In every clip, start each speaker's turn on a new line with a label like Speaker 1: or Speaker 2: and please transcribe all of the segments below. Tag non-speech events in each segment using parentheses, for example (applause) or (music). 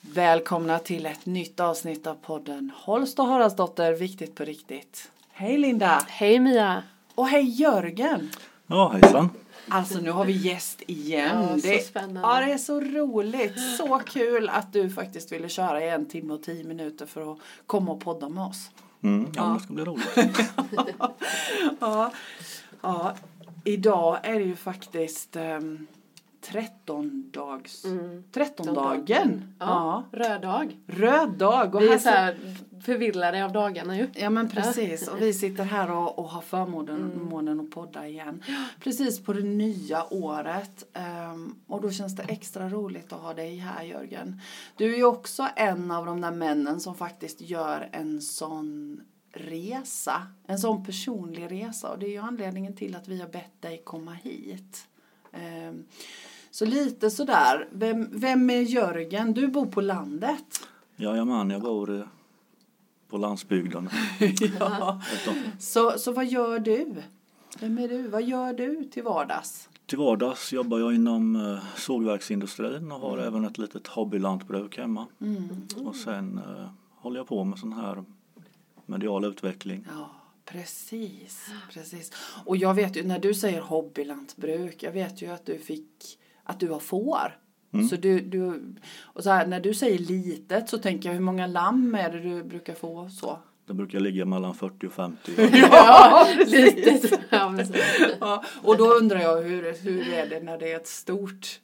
Speaker 1: Välkomna till ett nytt avsnitt av podden Holst och Haraldsdotter, viktigt på riktigt. Hej Linda!
Speaker 2: Hej Mia!
Speaker 1: Och hej Jörgen!
Speaker 3: Ja, hejsan.
Speaker 1: Alltså nu har vi gäst igen.
Speaker 2: Ja, så
Speaker 1: det,
Speaker 2: spännande.
Speaker 1: ja, det är så roligt. Så kul att du faktiskt ville köra i en timme och tio minuter för att komma och podda med oss.
Speaker 3: Mm, ja, det ska bli roligt.
Speaker 1: Ja, ja. idag är det ju faktiskt um, 13 dags...
Speaker 2: Mm.
Speaker 1: 13 dagen.
Speaker 2: Ja,
Speaker 1: Ja.
Speaker 2: röd dag.
Speaker 1: Röd dag. Och
Speaker 2: Vi är
Speaker 1: här
Speaker 2: så här förvillade av
Speaker 1: (laughs)
Speaker 2: dagarna ju.
Speaker 1: Ja Mm. men precis och vi sitter här och, och har förmånen att podda igen. Precis på det nya året Ehm, och då känns det extra roligt att ha dig här Jörgen. Du är ju också en av de där männen som faktiskt gör en sån resa, en sån personlig resa och det är ju anledningen till att vi har bett dig komma hit. Ehm, Så lite sådär, vem, vem är Jörgen? Du bor på landet.
Speaker 3: Jajamän, jag bor eh, på landsbygden.
Speaker 1: (laughs) ja. Så, så vad gör du? Vem är du? Vad gör du till vardags?
Speaker 3: Till vardags jobbar jag inom eh, sågverksindustrin och har även ett litet hobbylantbruk hemma. Och sen eh, håller jag på med sån här medial utveckling.
Speaker 1: Ja, precis, precis. Och jag vet ju, när du säger hobbylantbruk, jag vet ju att du fick, att du har får. Så du, du, och så här, när du säger litet så tänker jag hur många lamm är det du brukar få (laughs) så?
Speaker 3: Det brukar ligga mellan 40 och 50.
Speaker 2: Ja, lite. Ja, men så.
Speaker 1: Ja, och då undrar jag hur, hur är det när det är ett stort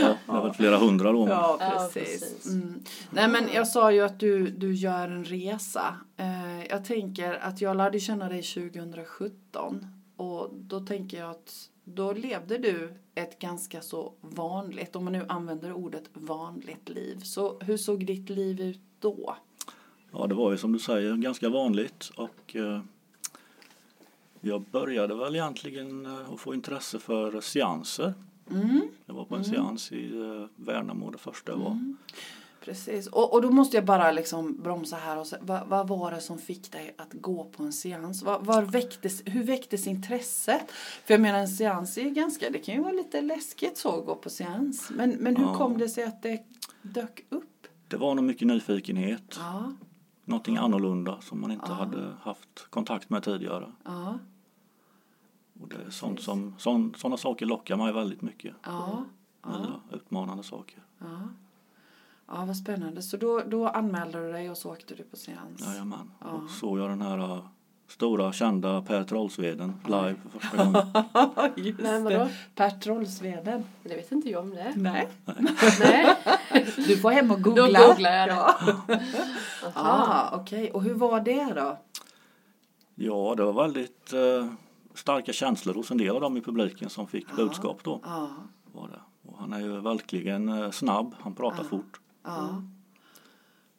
Speaker 3: Ja, det är väl flera hundra då.
Speaker 1: Ja,
Speaker 2: Ja,
Speaker 1: precis.
Speaker 2: precis.
Speaker 1: Mm. Nej, men jag sa ju att du, du gör en resa. Eh, jag tänker att jag lärde känna dig 2017 och då tänker jag att då levde du ett ganska så vanligt, om man nu använder ordet vanligt liv. Så hur såg ditt liv ut då?
Speaker 3: Ja, det var ju som du säger ganska vanligt och eh, jag började väl egentligen eh, att få intresse för seanser.
Speaker 1: Mm.
Speaker 3: Jag var på en seans i eh, Värnamo det första jag var.
Speaker 1: Mm. Precis, och, och då måste jag bara liksom bromsa här och säga, vad, vad var det som fick dig att gå på en seans? Vad, vad väcktes, hur väcktes intresset? För jag menar en seans är ju ganska, det kan ju vara lite läskigt så att gå på seans. Men, men hur
Speaker 3: Ja.
Speaker 1: kom det sig att det dök upp?
Speaker 3: Det var nog mycket nyfikenhet,
Speaker 1: Ja,
Speaker 3: någonting annorlunda som man inte hade haft kontakt med tidigare.
Speaker 1: ja,
Speaker 3: Och det är sånt som, sån, sådana saker lockar mig väldigt mycket.
Speaker 1: ja,
Speaker 3: Nya utmanande saker.
Speaker 1: ja. Ja, vad spännande. Så då, då anmälde du dig och så åkte du på seans.
Speaker 3: Jajamän. Och såg jag den här eh, stora kända Per Trollsveden live för första gången.
Speaker 1: (laughs) Just
Speaker 2: Nej, vadå?
Speaker 1: det. Per Trollsveden.
Speaker 2: Det vet inte jag
Speaker 1: (laughs)
Speaker 2: om det.
Speaker 1: Nej.
Speaker 2: Nej,
Speaker 1: Du får hem och
Speaker 2: då
Speaker 1: googla.
Speaker 2: googlar jag det. Aha.
Speaker 1: Ah, okej. Och hur var det då?
Speaker 3: Ja, det var väldigt eh, starka känslor hos en del av dem i publiken som fick budskap då.
Speaker 1: Ja,
Speaker 3: Var det. Och han är ju verkligen eh, snabb, han pratar fort.
Speaker 1: ja.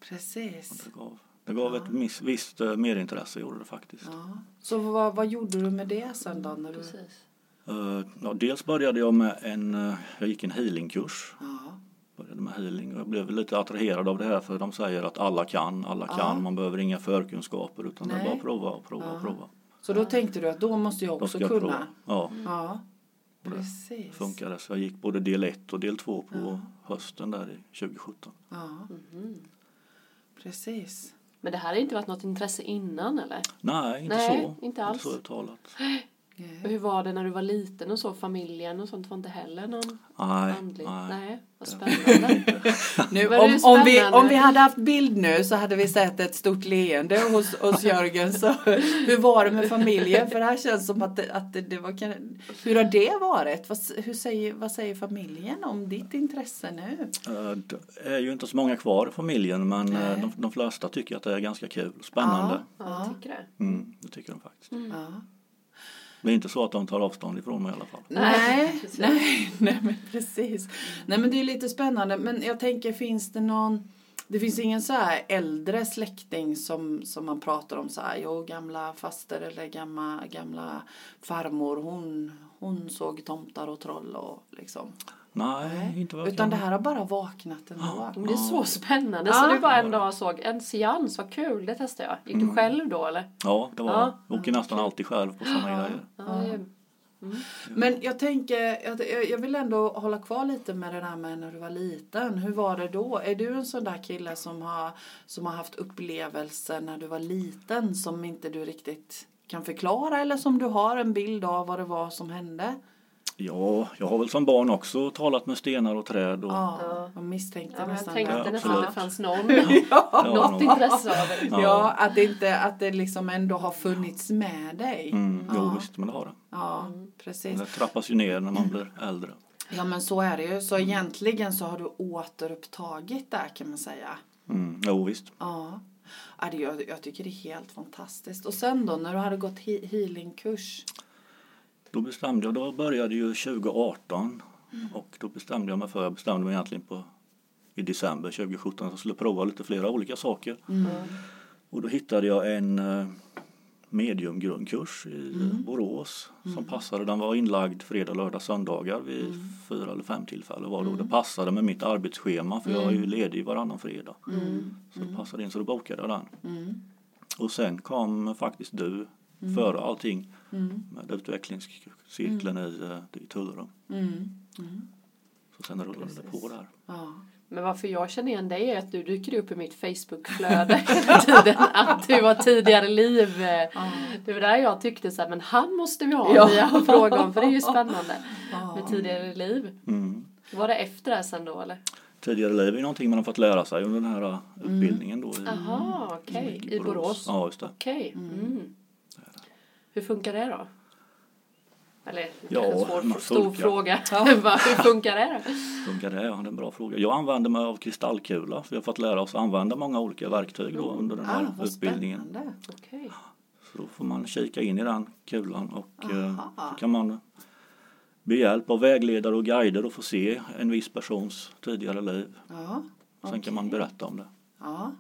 Speaker 1: Precis.
Speaker 3: Det gav, det gav ett miss, visst eh, merintresse gjorde det faktiskt.
Speaker 1: Ja. Så vad, vad gjorde du med det sen då? När du...
Speaker 2: Precis.
Speaker 3: Eh, ja, dels började jag med en, eh, jag gick en healingkurs.
Speaker 1: Ja,
Speaker 3: Började med healing och jag blev lite attraherad av det här för de säger att alla kan, alla kan. Man behöver inga förkunskaper utan det
Speaker 1: Nej.
Speaker 3: är bara att prova och prova och prova.
Speaker 1: Så då tänkte du att då måste jag
Speaker 3: Då
Speaker 1: också
Speaker 3: ska jag
Speaker 1: kunna?
Speaker 3: prova. Ja,
Speaker 1: Ja, Mm. precis.
Speaker 3: funkade. Så jag gick både del 1 och del 2 på hösten där i 2017.
Speaker 1: Ja. Mhm. Precis.
Speaker 2: Men det här har inte varit något intresse innan eller?
Speaker 3: Nej, inte
Speaker 2: Nej,
Speaker 3: så.
Speaker 2: inte alls.
Speaker 3: så uttalat.
Speaker 2: Och hur var det när du var liten och så? Familjen och sånt var inte heller någon
Speaker 3: Nej,
Speaker 2: andlig?
Speaker 3: nej.
Speaker 2: nej vad spännande.
Speaker 1: (laughs) Nu,
Speaker 2: Var det
Speaker 1: om, om, vi,
Speaker 2: spännande?
Speaker 1: om vi hade haft bild nu så hade vi sett ett stort leende hos,
Speaker 3: (laughs)
Speaker 1: hos Jörgen. Så, hur var det med familjen? För det här känns som att, det- att det, det var... kan- Hur har det varit? Vad, s- hur säger, vad säger familjen om ditt intresse nu?
Speaker 3: Eh, Det är ju inte så många kvar i familjen men eh, de, de flesta tycker att det är ganska kul och spännande.
Speaker 2: Ja, jag tycker det.
Speaker 3: Mm, det tycker de faktiskt.
Speaker 1: Ja.
Speaker 3: Det är inte så att de tar avstånd ifrån mig i alla fall.
Speaker 1: Nej, (laughs)
Speaker 2: precis.
Speaker 1: nej, nej men precis. Nej men det är lite spännande. Men jag tänker, finns det någon... Det finns ingen så här äldre släkting som, som man pratar om så här, jo gamla faster eller gamla, gamla farmor, hon, hon såg tomtar och troll och liksom.
Speaker 3: Nej, inte vad jag
Speaker 1: Utan
Speaker 3: kan.
Speaker 1: det här har bara vaknat ändå.
Speaker 2: Men det är så spännande. Så
Speaker 1: Ja.
Speaker 2: du bara en dag såg en seans, vad kul, det testade
Speaker 1: Mm.
Speaker 2: jag. Gick du själv då eller?
Speaker 3: Ja, det var
Speaker 2: Ja.
Speaker 3: jag. åker nästan alltid själv på sådana grejer.
Speaker 2: Ja, det är
Speaker 1: Men jag tänker, att jag- jag vill ändå hålla kvar lite med det där med när du var liten. Hur var det då? Är du en sån där kille som har, som har haft upplevelser när du var liten som inte du riktigt kan förklara eller som du har en bild av vad det var som hände?
Speaker 3: Ja, jag har väl som barn också talat med stenar och träd. Och,
Speaker 1: Ja,
Speaker 2: Ja.
Speaker 1: jag misstänkte
Speaker 2: Ja, men jag
Speaker 1: nästan
Speaker 2: tänkte
Speaker 1: det.
Speaker 2: att det
Speaker 3: Ja,
Speaker 2: nästan
Speaker 3: absolut.
Speaker 2: det fanns någon,
Speaker 3: (laughs) Ja,
Speaker 2: något
Speaker 3: nog.
Speaker 2: intresse av det.
Speaker 1: Ja. att det inte, att det liksom ändå har funnits med dig.
Speaker 3: Mm, jo,
Speaker 1: Ja.
Speaker 3: visst, men det har det.
Speaker 1: Ja,
Speaker 2: Mm.
Speaker 1: precis.
Speaker 3: Det trappas ju ner när man blir äldre.
Speaker 1: Ja men så är det ju.
Speaker 3: Mm.
Speaker 1: Så egentligen så har du återupptagit det här, kan man säga.
Speaker 3: Mm, jo, visst.
Speaker 1: Ja. Ja, det- Jag, jag tycker det är helt fantastiskt. Och sen då när du hade gått he- healingkurs.
Speaker 3: Då bestämde jag, då började ju 2018 och då bestämde jag mig för, jag bestämde mig egentligen på i december 2017 att jag skulle prova lite flera olika saker. Och då hittade jag en eh, mediumgrundkurs i Borås som passade. Den var inlagd fredag, lördag, söndagar vid fyra eller fem tillfällen var det. Och det passade med mitt arbetsschema för jag är ju ledig varannan fredag. Så det passade in så då bokade jag den. Och sen kom faktiskt du före allting
Speaker 1: Mm.
Speaker 3: med utvecklingscirkeln i, eh, i Tullrum.
Speaker 1: Mm.
Speaker 3: Så sen rullade det på där.
Speaker 1: Ja.
Speaker 2: Men varför jag känner igen dig är att du dyker upp i mitt Facebookflöde (laughs) hela tiden. Att du var tidigare liv. Det var där jag tyckte så här, men han måste vi ha
Speaker 1: Ja.
Speaker 2: ja. en fråga om. För det är ju spännande.
Speaker 1: Ja.
Speaker 2: Med tidigare liv.
Speaker 3: Mm.
Speaker 2: Var det efter det här sen då eller?
Speaker 3: Tidigare liv är någonting man har fått lära sig under den här eh,
Speaker 1: Mm.
Speaker 3: utbildningen då. I,
Speaker 2: Jaha, okej. I Borås?
Speaker 3: Ja, just det.
Speaker 2: Mm. Okej. Mm. Hur funkar det då? Eller
Speaker 3: Ja,
Speaker 2: ja, en svår,
Speaker 3: man
Speaker 2: stor
Speaker 3: funkar.
Speaker 2: fråga. (laughs) Hur funkar det då?
Speaker 3: Funkar det? Ja, det är en bra fråga. Jag använder mig av kristallkula för jag har fått lära oss att använda många olika verktyg då under den här
Speaker 1: Ah, vad
Speaker 3: utbildningen.
Speaker 1: spännande.
Speaker 2: Okej.
Speaker 3: Så då får man kika in i den kulan och eh,
Speaker 1: Aha.
Speaker 3: så kan man med hjälp av vägledare och guider och få se en viss persons tidigare liv.
Speaker 1: Ja.
Speaker 3: Sen kan man berätta om det.
Speaker 1: Ja.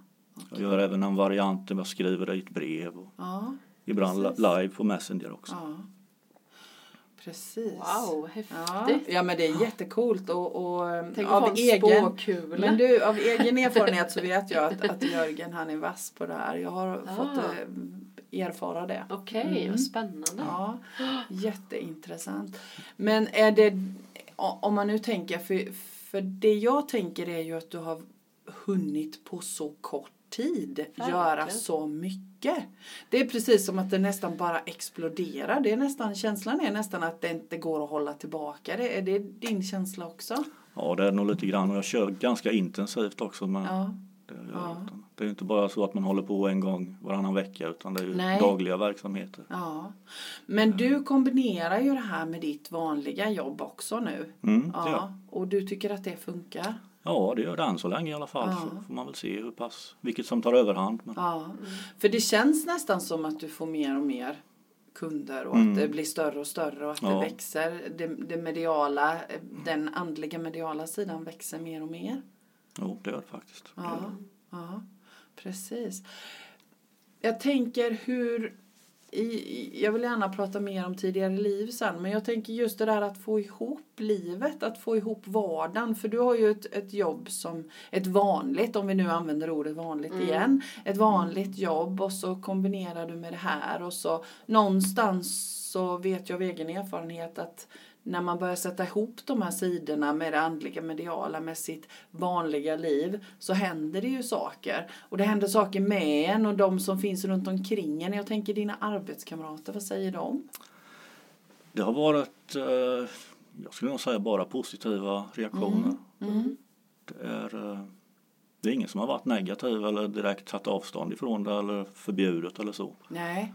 Speaker 3: Jag gör även en variant där jag skriver det i ett brev och
Speaker 1: Ja.
Speaker 3: ibland
Speaker 1: Precis.
Speaker 3: live på Messenger också.
Speaker 1: Ja. Precis. Ja.
Speaker 2: Wow, häftigt.
Speaker 1: ja men det är jättecoolt och, och
Speaker 2: Tänk att
Speaker 1: av
Speaker 2: få en
Speaker 1: egen
Speaker 2: spåkula.
Speaker 1: Men du, av egen erfarenhet så vet jag att, att Jörgen han är vass på det här. Jag har
Speaker 2: Ah.
Speaker 1: fått eh, erfara det.
Speaker 2: Okej, vad spännande.
Speaker 1: Mm. Ja, jätteintressant. Men är det, o- om man nu tänker, för, för det jag tänker är ju att du har hunnit på så kort tid göra så mycket. Det är precis som att det nästan bara exploderar. Det är nästan, känslan är nästan att det inte går att hålla tillbaka det. Är det din känsla också?
Speaker 3: Ja, det är nog lite grann och jag kör ganska intensivt också. Men
Speaker 1: Ja.
Speaker 3: det, jag gör, utan, det är ju inte bara så att man håller på en gång varannan vecka utan det är ju
Speaker 1: Nej.
Speaker 3: dagliga verksamheter.
Speaker 1: Ja. Men du kombinerar ju det här med ditt vanliga jobb också nu.
Speaker 3: Mm, det gör.
Speaker 1: Ja. Och du tycker att det funkar?
Speaker 3: ja, det gör det än så länge i alla fall. Så får man väl se hur pass, vilket som tar överhand. Men,
Speaker 1: Ja, för det känns nästan som att du får mer och mer kunder och att det blir större och större och att det
Speaker 3: Ja.
Speaker 1: växer. Det, det mediala, eh, den andliga mediala sidan växer mer och mer.
Speaker 3: jo, det gör det faktiskt.
Speaker 1: Ja, ja precis. Jag tänker hur... I, i, jag vill gärna prata mer om tidigare liv sen, men jag tänker just det där att få ihop livet, att få ihop vardagen. För du har ju ett, ett jobb som ett vanligt, om vi nu använder ordet vanligt igen, ett vanligt jobb och så kombinerar du med det här och så någonstans så vet jag av egen erfarenhet att när man börjar sätta ihop de här sidorna med det andliga mediala med sitt vanliga liv så händer det ju saker. Och det händer saker med en och de som finns runt omkring en. Jag tänker dina arbetskamrater, vad säger de?
Speaker 3: Det har varit, eh, jag skulle nog säga bara positiva reaktioner.
Speaker 1: Mm.
Speaker 3: Det, är, eh, det är ingen som har varit negativ eller direkt tagit avstånd ifrån det eller förbjudet
Speaker 1: (laughs)
Speaker 3: eller så.
Speaker 1: Nej.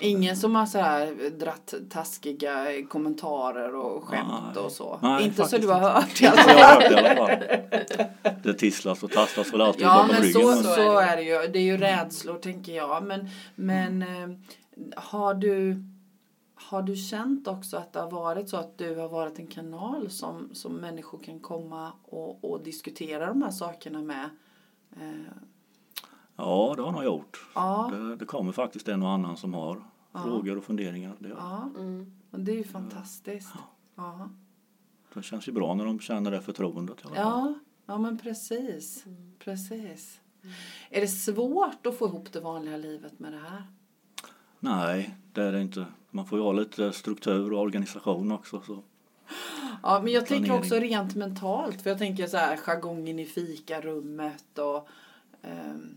Speaker 1: Ingen som har så här dratt taskiga kommentarer och skämt
Speaker 3: Nej.
Speaker 1: och så?
Speaker 3: Nej,
Speaker 1: Inte så
Speaker 3: faktiskt
Speaker 1: du har hört i
Speaker 3: Det
Speaker 1: alla
Speaker 3: har
Speaker 1: fall?
Speaker 3: jag hört i alla fall. Det tisslas och tasslas väl alltid
Speaker 1: Ja,
Speaker 3: bakom
Speaker 1: men
Speaker 3: ryggen.
Speaker 1: så,
Speaker 3: men-
Speaker 1: så är det ju. Det är ju rädslor, tänker jag. Men, men eh, har, du, har du känt också att det har varit så att du har varit en kanal som, som människor kan komma och, och diskutera de här sakerna med? Eh,
Speaker 3: Ja, det har nog gjort.
Speaker 1: Ja.
Speaker 3: Det, det kommer faktiskt en och annan som har frågor och funderingar. Det,
Speaker 1: Ja,
Speaker 2: Mm.
Speaker 1: och det är ju fantastiskt. Ja,
Speaker 3: det känns ju bra när de känner det förtroendet. i alla fall.
Speaker 1: ja, ja men precis. precis. Är det svårt att få ihop det vanliga livet med det här?
Speaker 3: Nej, det är det inte. Man får ju ha lite struktur och organisation också. Så.
Speaker 1: Ja, men jag tänker
Speaker 3: Planering.
Speaker 1: också rent mentalt. För jag tänker så här, jargongen i fikarummet och... ehm,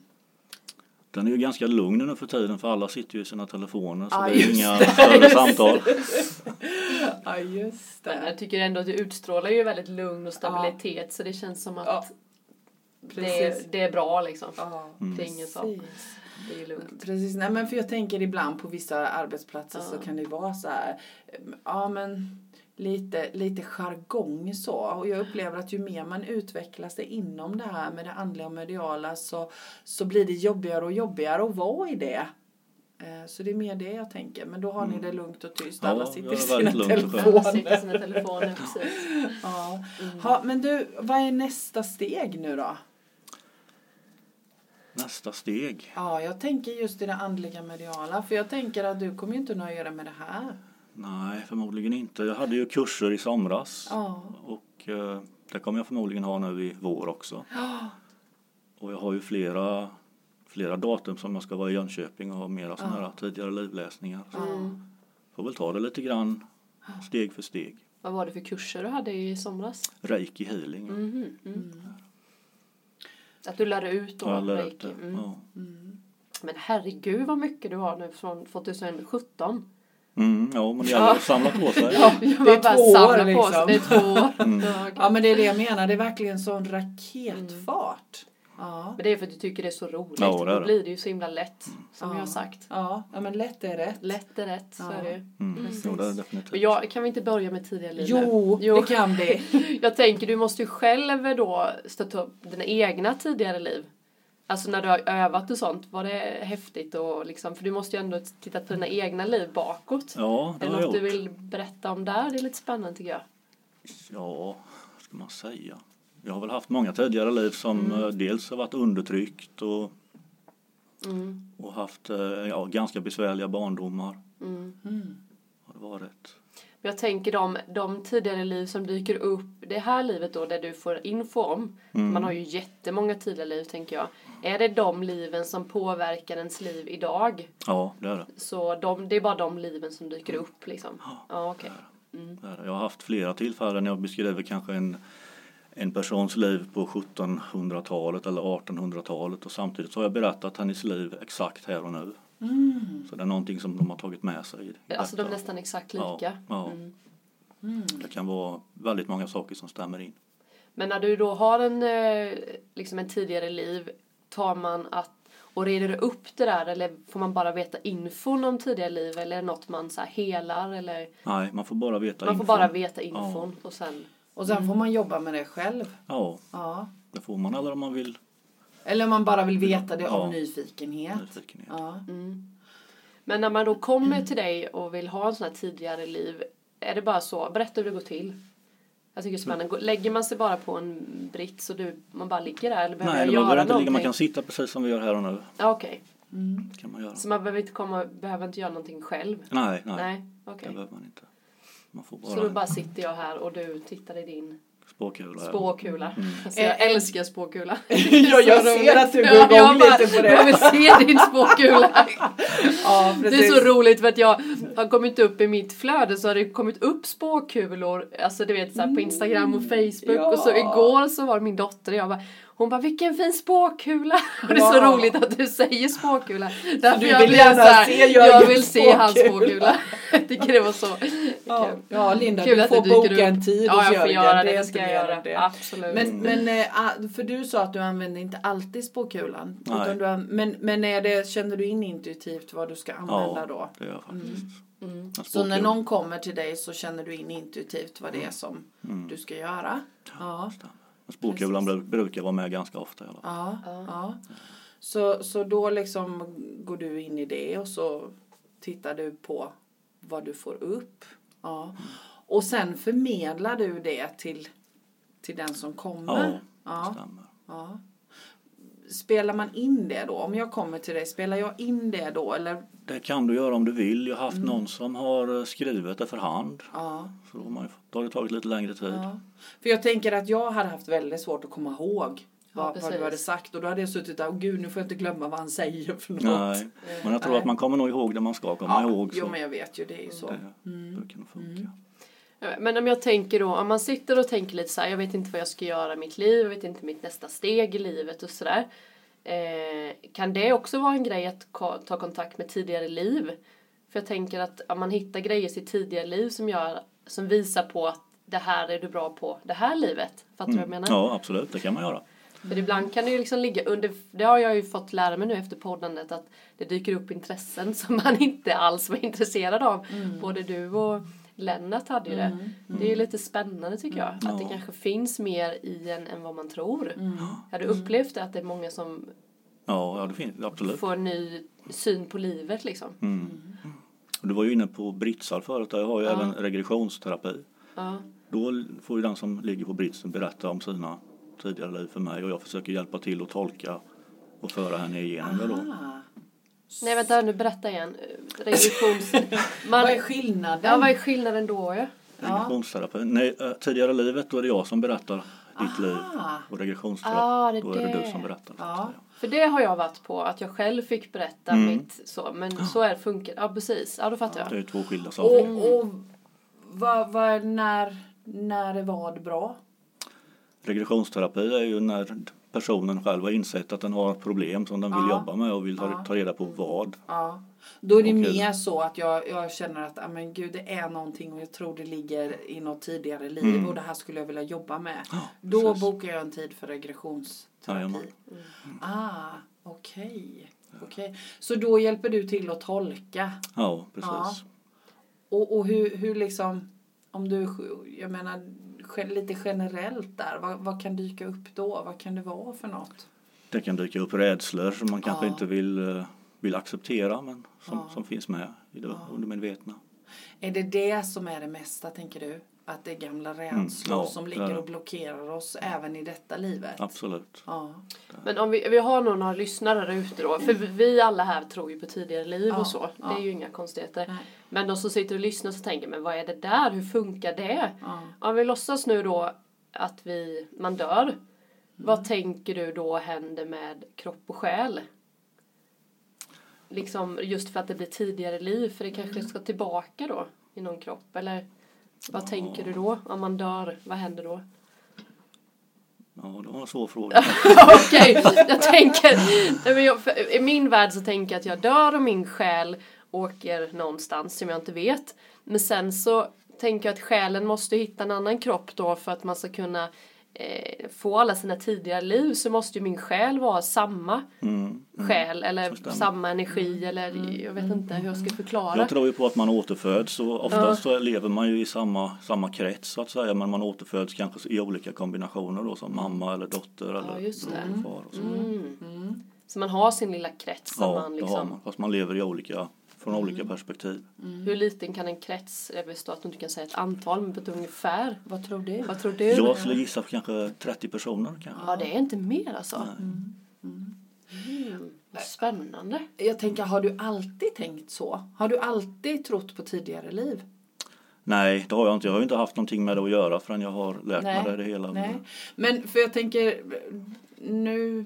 Speaker 3: Den är ju ganska lugn nu för tiden för alla sitter ju i sina telefoner så
Speaker 1: Ja,
Speaker 3: det är ju
Speaker 1: just
Speaker 3: inga
Speaker 1: det.
Speaker 3: större samtal.
Speaker 1: ja, just
Speaker 2: Men jag tycker ändå att du utstrålar ju väldigt lugn och stabilitet så det känns som att
Speaker 1: Ja, precis.
Speaker 2: det, det är bra liksom.
Speaker 1: Ja,
Speaker 2: Det är inget sånt.
Speaker 1: precis.
Speaker 2: Det är lugnt.
Speaker 1: Precis, nej men för jag tänker ibland på vissa arbetsplatser så
Speaker 2: Ja.
Speaker 1: kan det vara så här, ehm, ja men lite, lite jargong så. Och jag upplever att ju mer man utvecklar sig inom det här med det andliga och mediala så, så blir det jobbigare och jobbigare att vara i det. Eh, Så det är mer det jag tänker. Men då har ni Mm. det lugnt och tyst.
Speaker 3: Ja,
Speaker 1: Alla
Speaker 3: vi
Speaker 1: sitter
Speaker 3: har
Speaker 1: i
Speaker 3: det
Speaker 1: sina
Speaker 3: väldigt lugnt och skönt.
Speaker 2: Alla
Speaker 1: telefoner.
Speaker 2: sitter i sina telefoner precis.
Speaker 1: Ja. Ha, men du, vad är nästa steg nu då?
Speaker 3: Nästa steg?
Speaker 1: Ja, jag tänker just i det andliga mediala. För jag tänker att du kommer ju inte nöja dig med det här.
Speaker 3: Nej, förmodligen inte. Jag hade ju kurser i somras
Speaker 1: Ja.
Speaker 3: och eh, det kommer jag förmodligen ha nu i vår också. Och jag har ju flera, flera datum som jag ska vara i Jönköping och ha mera sådana här tidigare livläsningar. Så Får väl ta det lite grann steg för steg.
Speaker 2: Vad var det för kurser du hade i somras?
Speaker 3: Reiki healing.
Speaker 2: Mhm, mm. Att du lär ut då?
Speaker 3: har jag lärt
Speaker 2: reiki.
Speaker 3: det.
Speaker 2: Mm.
Speaker 3: Ja.
Speaker 2: Men herregud vad mycket du har nu från 2017.
Speaker 3: Mm, ja, men det gäller att samla på sig.
Speaker 2: (laughs)
Speaker 3: Mm,
Speaker 2: Man
Speaker 1: det är
Speaker 2: bara
Speaker 1: två år,
Speaker 2: samlar på
Speaker 1: liksom.
Speaker 2: sig. Det är två
Speaker 1: (laughs)
Speaker 2: år. Ja, okej.
Speaker 1: Ja, men det är det jag menar. Det är verkligen sån raketfart.
Speaker 2: Mm.
Speaker 1: Ja.
Speaker 2: Men det är för att du tycker det är så roligt.
Speaker 3: Ja, det Mm. är
Speaker 2: Då
Speaker 3: det.
Speaker 2: blir det ju så himla lätt. Som
Speaker 1: Ja.
Speaker 2: jag har sagt.
Speaker 1: Ja. ja, men lätt är rätt.
Speaker 2: Lätt är rätt. Så
Speaker 1: Ja.
Speaker 2: är det ju.
Speaker 3: Mm. Jo, det är det
Speaker 2: Och
Speaker 3: definitivt.
Speaker 2: jag, kan vi inte börja med tidiga liv nu?
Speaker 1: Jo, det kan vi.
Speaker 2: Jag tänker, du måste ju själv då stötta upp dina egna tidigare liv. Alltså när du har övat och sånt, var det häftigt och liksom, för du måste ju ändå titta på dina egna liv bakåt.
Speaker 3: Ja, det
Speaker 2: Är det
Speaker 3: har
Speaker 2: något
Speaker 3: jag
Speaker 2: du
Speaker 3: gjort.
Speaker 2: vill berätta om där? Det är lite spännande tycker jag.
Speaker 3: Ja, vad ska man säga? Jag har väl haft många tidigare liv som eh, dels har varit undertryckt och,
Speaker 2: Mm.
Speaker 3: och haft eh, ja, ganska besvärliga barndomar.
Speaker 2: Mm.
Speaker 3: Har det varit.
Speaker 2: Men Jag tänker de, de tidigare liv som dyker upp, det här livet då där du får info om,
Speaker 3: Mm.
Speaker 2: man har ju jättemånga tidigare liv tänker jag. Är det de liven som påverkar ens liv idag?
Speaker 3: Ja, det är det.
Speaker 2: Så de, det är bara de liven som dyker upp liksom? Ja, okej.
Speaker 3: det, är det. Jag har haft flera tillfällen när jag beskriver kanske en, en persons liv på 1700-talet eller 1800-talet och samtidigt så har jag berättat hennes liv exakt här och nu. Så det är någonting som de har tagit med sig. i detta.
Speaker 2: Alltså de är nästan exakt lika.
Speaker 3: Ja, ja. Mm.
Speaker 2: Mm.
Speaker 3: Det kan vara väldigt många saker som stämmer in.
Speaker 2: Men när du då har en, eh, liksom en tidigare liv, tar man att och reder du upp det där eller får man bara veta infon om tidigare liv eller är det något man så här helar eller
Speaker 3: Nej, man får bara veta
Speaker 2: man får
Speaker 3: infon.
Speaker 2: bara veta infon och sen
Speaker 1: Och
Speaker 2: Mm.
Speaker 1: sen får man jobba med det själv.
Speaker 3: Ja,
Speaker 1: Ja.
Speaker 3: det får man eller om man vill.
Speaker 1: Eller om man bara vill veta det av
Speaker 3: Ja.
Speaker 1: nyfikenhet.
Speaker 3: Nyfikenhet.
Speaker 1: Ja.
Speaker 2: Mm. Men när man då kommer till dig och vill ha en sån här tidigare liv, är det bara så, berätta hur det går till. Jag tycker det är spännande. Gå- Lägger man sig bara på en brits och du, man bara ligger där eller behöver jag
Speaker 3: Nej, man behöver
Speaker 2: göra
Speaker 3: inte ligga.
Speaker 2: någonting?
Speaker 3: Man kan sitta precis som vi gör här och nu.
Speaker 2: Ja, okej.
Speaker 3: Det kan man göra.
Speaker 2: Så man behöver inte, komma, behöver inte göra någonting själv?
Speaker 3: Nej, nej,
Speaker 2: Nej,
Speaker 3: det
Speaker 2: okej.
Speaker 3: behöver man inte. Man får
Speaker 2: Så då
Speaker 3: bara,
Speaker 2: bara sitter jag här och du tittar i din
Speaker 3: en spåkula. här.
Speaker 2: spåkula.
Speaker 3: Mm.
Speaker 2: (laughs) Alltså, jag älskar spåkula.
Speaker 1: Eh, (laughs) Ja, jag
Speaker 2: Så roligt.
Speaker 1: ser
Speaker 2: (laughs)
Speaker 1: att du går igång
Speaker 2: jag bara,
Speaker 1: lite på det.
Speaker 2: Jag vill se
Speaker 1: (laughs)
Speaker 2: din spåkula.
Speaker 1: Ja,
Speaker 2: Det är så roligt för att jag har kommit upp i mitt flöde så har det kommit upp spåkulor, alltså du vet så här på Instagram och Facebook
Speaker 1: Mm. ja.
Speaker 2: och så igår så var det min dotter och jag bara hon bara vilken fin spåkula! (laughs) Och det är så
Speaker 1: Wow.
Speaker 2: roligt att du säger spåkula. Därför
Speaker 1: du
Speaker 2: jag
Speaker 1: vill
Speaker 2: blev
Speaker 1: gärna
Speaker 2: så här,
Speaker 1: se
Speaker 2: jag
Speaker 1: Jörgens
Speaker 2: vill se hans
Speaker 1: spåkula.
Speaker 2: spåkula. Jag tycker det var så
Speaker 1: Ja,
Speaker 2: kul.
Speaker 1: ja Linda,
Speaker 2: Kul
Speaker 1: du
Speaker 2: att det
Speaker 1: får
Speaker 2: dyker
Speaker 1: boka
Speaker 2: upp.
Speaker 1: en tid
Speaker 2: Ja,
Speaker 1: hos
Speaker 2: jag får
Speaker 1: Jörgen.
Speaker 2: göra det,
Speaker 1: är
Speaker 2: det Mm.
Speaker 1: inte
Speaker 2: ska jag
Speaker 1: mer
Speaker 2: göra.
Speaker 1: än det.
Speaker 2: Absolut.
Speaker 1: Men, men eh, ah, för du sa att du använder inte alltid spåkulan.
Speaker 3: Nej.
Speaker 1: Utan du, an- men men är det, känner du in intuitivt vad du ska använda
Speaker 3: Ja,
Speaker 1: då?
Speaker 3: det gör jag
Speaker 2: Mm.
Speaker 3: faktiskt. En
Speaker 1: Så när
Speaker 3: spåkula.
Speaker 1: någon kommer till dig så känner du in intuitivt vad det är som du ska göra? Mm. Ja.
Speaker 3: Men Spåkulan bru- brukar vara med ganska ofta i alla fall.
Speaker 1: Ja, ja. Så, så då liksom går du in i det och så tittar du på vad du får upp. Ja. Och sen förmedlar du det till, till den som
Speaker 3: Ja,
Speaker 1: kommer.
Speaker 3: det stämmer.
Speaker 1: ja. Spelar man in det då? Om jag kommer till dig, spelar jag in det då? Eller?
Speaker 3: Det kan du göra om du vill. Jag
Speaker 2: Mm.
Speaker 3: har haft någon som har eh, skrivit det för hand.
Speaker 1: Ja,
Speaker 3: Så då har, man ju, då har det tagit lite längre tid.
Speaker 1: ja. För jag tänker att jag hade haft väldigt svårt att komma ihåg vad, vad
Speaker 2: precis.
Speaker 1: du hade sagt. Och då hade jag suttit där, åh gud nu får jag inte glömma vad han säger för något.
Speaker 3: Nej, men jag tror
Speaker 1: Nej.
Speaker 3: att man kommer nog ihåg det man ska komma
Speaker 1: ja,
Speaker 3: ihåg.
Speaker 1: Jo
Speaker 3: Så
Speaker 1: men jag vet ju, det är ju så.
Speaker 3: det brukar nog funka.
Speaker 2: Men om jag tänker då, om man sitter och tänker lite så här, jag vet inte vad jag ska göra i mitt liv, jag vet inte mitt nästa steg i livet och sådär. Eh, kan det också vara en grej att ko- ta kontakt med tidigare liv? För jag tänker att om man hittar grejer i sitt tidigare liv som, gör, som visar på att det här är du bra på, det här livet. Fattar du vad jag menar?
Speaker 3: Mm. Ja, absolut, det kan man göra.
Speaker 2: För ibland kan det ju liksom ligga under, det har jag ju fått lära mig nu efter poddandet att det dyker upp intressen (laughs) som man inte alls var intresserad av.
Speaker 1: Mm.
Speaker 2: Både du och Lennart hade ju det. Det är ju lite spännande tycker jag. Att det
Speaker 3: Ja.
Speaker 2: kanske finns mer i en än vad man tror.
Speaker 1: Mm.
Speaker 2: Jag hade upplevt det att det är många som
Speaker 3: Ja, ja det finns absolut.
Speaker 2: får en ny syn på livet liksom.
Speaker 3: Och Du var ju inne på britsar förut, där jag har ju även regressionsterapi.
Speaker 2: Ja.
Speaker 3: Då får ju den som ligger på britsen berätta om sina tidigare liv för mig och jag försöker hjälpa till att tolka och föra henne igenom det då.
Speaker 1: Ah,
Speaker 2: Nej vänta nu, berätta igen. Revisions...
Speaker 1: (laughs)
Speaker 2: Man...
Speaker 1: vad är skillnaden?
Speaker 2: Ja vad är skillnaden då ju?
Speaker 3: Regressionsterapi. Nej, eh, tidigare livet då är det jag som berättar ditt liv och regressionsterapi
Speaker 2: Ah, det är
Speaker 3: då är det
Speaker 2: det.
Speaker 3: du som berättar. så att
Speaker 1: Ja.
Speaker 3: säga.
Speaker 2: För det har jag varit på, att jag själv fick berätta mitt så, men så är det funkar. Ja precis, ja då fattar
Speaker 3: Det är
Speaker 2: jag.
Speaker 3: ju två skilda saker.
Speaker 1: Och, och vad, vad, när, när är vad bra?
Speaker 3: Regressionsterapi är ju när personen själv har insett att den har problem som den vill jobba med och vill ta, ta reda på vad.
Speaker 1: Ja. Då är det
Speaker 3: Okej.
Speaker 1: mer så att jag, jag känner att ah, men gud, det är någonting och jag tror det ligger i något tidigare liv och det här skulle jag vilja jobba med. Då
Speaker 3: Mm. precis.
Speaker 1: bokar jag en tid för regressionsterapi.
Speaker 3: Jajamän.
Speaker 1: Ah, okej. Okay. Så då hjälper du till att tolka.
Speaker 3: Ja, precis.
Speaker 1: Ja. Och, och hur, hur liksom, om du, jag menar ge- lite generellt där, vad, vad kan dyka upp då? Vad kan det vara för något?
Speaker 3: Det kan dyka upp rädslor som man kanske
Speaker 1: Ja.
Speaker 3: inte vill, eh, vill acceptera men som, som finns med i det undermedvetna.
Speaker 1: Är det det som är det mesta, tänker du? Att det är gamla rädslor
Speaker 3: Mm, ja,
Speaker 1: som
Speaker 3: det
Speaker 1: ligger
Speaker 3: är det.
Speaker 1: och blockerar oss även i detta livet?
Speaker 3: Absolut.
Speaker 1: Ja.
Speaker 2: Men om vi, vi har nog några lyssnare där ute då, för vi alla här tror ju på tidigare liv
Speaker 1: Ja,
Speaker 2: och så. Det
Speaker 1: ja.
Speaker 2: är ju inga konstigheter.
Speaker 1: Nej.
Speaker 2: Men de som sitter och lyssnar så tänker, men vad är det där? Hur funkar det?
Speaker 1: Ja.
Speaker 2: Om vi låtsas nu då att vi, man dör. Vad tänker du då händer med kropp och själ? Liksom just för att det blir tidigare liv, för det kanske ska tillbaka då i någon kropp, eller? Vad tänker du då? Om man dör, vad händer då?
Speaker 3: Ja, det var en svår fråga.
Speaker 2: (laughs) Okej, jag tänker... Nej, men jag, för, I min värld så tänker jag att jag dör och min själ åker någonstans som jag inte vet. Men sen så tänker jag att själen måste hitta en annan kropp då för att man ska kunna eh, få alla sina tidigare liv så måste ju min själ vara samma
Speaker 3: Mm.
Speaker 2: själ eller
Speaker 3: så stämmer. Mm.
Speaker 2: samma energi eller jag vet inte hur jag ska förklara.
Speaker 3: Jag tror ju på att man återföds och oftast så lever man ju i samma, samma krets så att säga men man återföds kanske i olika kombinationer då som mamma eller dotter eller
Speaker 2: just det. Mm.
Speaker 3: bror och far och så.
Speaker 2: Så man har sin lilla krets som
Speaker 3: Ja,
Speaker 2: man
Speaker 3: det
Speaker 2: liksom... Mm.
Speaker 3: har man. Fast man lever i olika, från olika perspektiv.
Speaker 2: Hur liten kan en krets, jag förstår att du inte kan säga ett antal men på ett ungefär.
Speaker 1: Vad tror du?
Speaker 2: Vad tror du?
Speaker 3: Jag skulle gissa på kanske 30 personer kanske.
Speaker 2: Ja, det är inte mer alltså. Mm. Vad Spännande.
Speaker 1: Jag tänker, har du alltid tänkt så? Har du alltid trott på tidigare liv?
Speaker 3: Nej, det har jag inte. Jag har ju inte haft någonting med det att göra förrän jag har lärt mig det hela.
Speaker 1: Nej. Men för jag tänker nu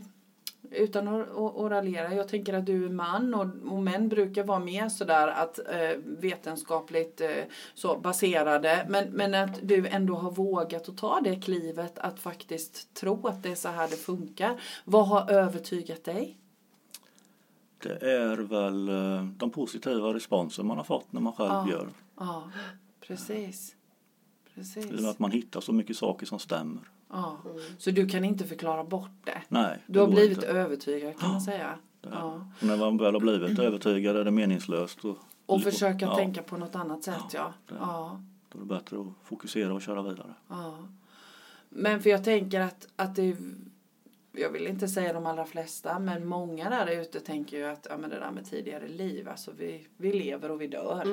Speaker 1: utan att att- att raljera, jag tänker att du är man och, och män brukar vara mer sådär att eh, vetenskapligt eh, så baserade men, men att du ändå har vågat att ta det klivet att faktiskt tro att det är så här det funkar. Vad har övertygat dig?
Speaker 3: Det är väl eh, de positiva responser man har fått när man själv gör.
Speaker 1: Ja, precis.
Speaker 3: Det är
Speaker 1: Precis.
Speaker 3: att man hittar så mycket saker som stämmer.
Speaker 1: Ja. Så du kan inte förklara bort det.
Speaker 3: Nej,
Speaker 1: Du
Speaker 3: det
Speaker 1: har
Speaker 3: går
Speaker 1: blivit
Speaker 3: inte.
Speaker 1: övertygad kan man säga. Ja.
Speaker 3: Och när man väl har blivit övertygad är det meningslöst. Och,
Speaker 1: Och försöka
Speaker 3: ja,
Speaker 1: tänka på något annat sätt, ja. ja.
Speaker 3: Då är det bättre att fokusera och köra vidare.
Speaker 1: ja. Men för jag tänker att, att det... Jag vill inte säga de allra flesta, men många där ute tänker ju att ja, men det där med tidigare liv, alltså vi, vi lever och vi dör.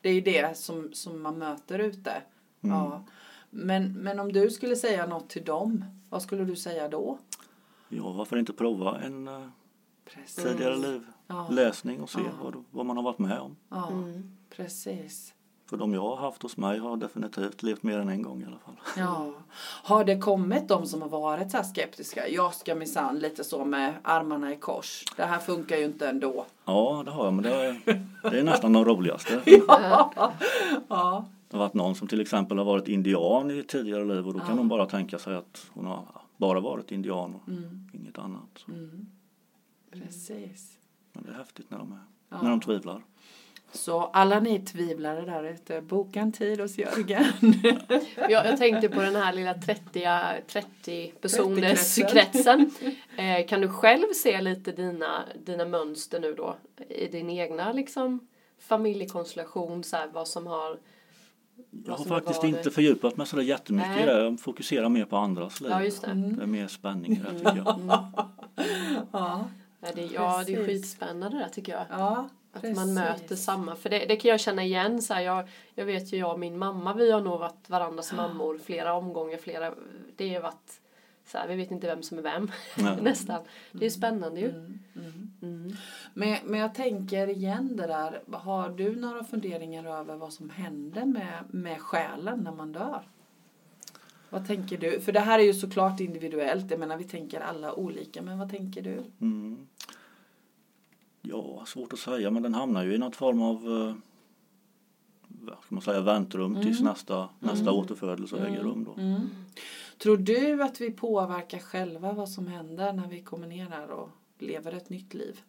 Speaker 1: Det är ju det som, som man möter ute. Ja. Men, men om du skulle säga något till dem, vad skulle du säga då?
Speaker 3: Ja, varför inte prova en eh,
Speaker 1: Precis. Mm.
Speaker 3: tidigare liv-läsning och se vad, vad man har varit med om.
Speaker 1: Ja, precis.
Speaker 3: För de jag har haft hos mig har definitivt levt mer än en gång i alla fall.
Speaker 1: Ja. Har det kommit de som har varit så här skeptiska? Jag ska minsann lite så med armarna i kors. Det här funkar ju inte ändå.
Speaker 3: Ja, det har jag, men det är, det är nästan
Speaker 2: (laughs)
Speaker 3: de roligaste.
Speaker 1: Ja. ja.
Speaker 3: Det har varit någon som till exempel har varit indian i tidigare liv och då kan de bara tänka sig att hon har bara varit indian och inget annat. Så.
Speaker 1: Mm. Precis.
Speaker 3: Men det är häftigt när de, är, när de tvivlar.
Speaker 1: Så alla ni tvivlare där ute, boka en tid hos Jörgen.
Speaker 2: Jag, jag tänkte på den här lilla 30, 30 personers
Speaker 1: 30-kretsen.
Speaker 2: (laughs) kretsen. Eh, kan du själv se lite dina, dina mönster nu då? I din egna liksom familjekonstellation, så här, vad som har...
Speaker 3: Jag har
Speaker 2: som har
Speaker 3: faktiskt
Speaker 2: varit.
Speaker 3: inte fördjupat mig sådär jättemycket
Speaker 2: Nej.
Speaker 3: i det. Jag fokuserar mer på andras liv.
Speaker 2: Ja, just det. Mm.
Speaker 3: det är mer spänning i det tycker jag.
Speaker 1: Ja,
Speaker 2: (laughs) Ja, det, ja, det är
Speaker 1: Precis.
Speaker 2: skitspännande det där tycker jag.
Speaker 1: ja
Speaker 2: Att man möter samma, för det, det kan jag känna igen så här, jag, jag vet ju jag och min mamma, vi har nog varit varandras mammor flera omgångar, flera, det har varit så här, vi vet inte vem som är vem
Speaker 3: Nej.
Speaker 2: (laughs) nästan. Det är ju spännande ju. Mm.
Speaker 1: Men, men jag tänker igen det där, har du några funderingar över vad som händer med, med själen när man dör? Vad tänker du? För det här är ju såklart individuellt, jag menar vi tänker alla olika, men vad tänker du?
Speaker 3: Mm. Ja, svårt att säga men den hamnar ju i något form av eh, vad ska man säga, väntrum tills
Speaker 2: Mm.
Speaker 3: nästa, nästa återfödelse äger rum. Då.
Speaker 1: Tror du att vi påverkar själva vad som händer när vi kommer ner här och lever ett nytt liv?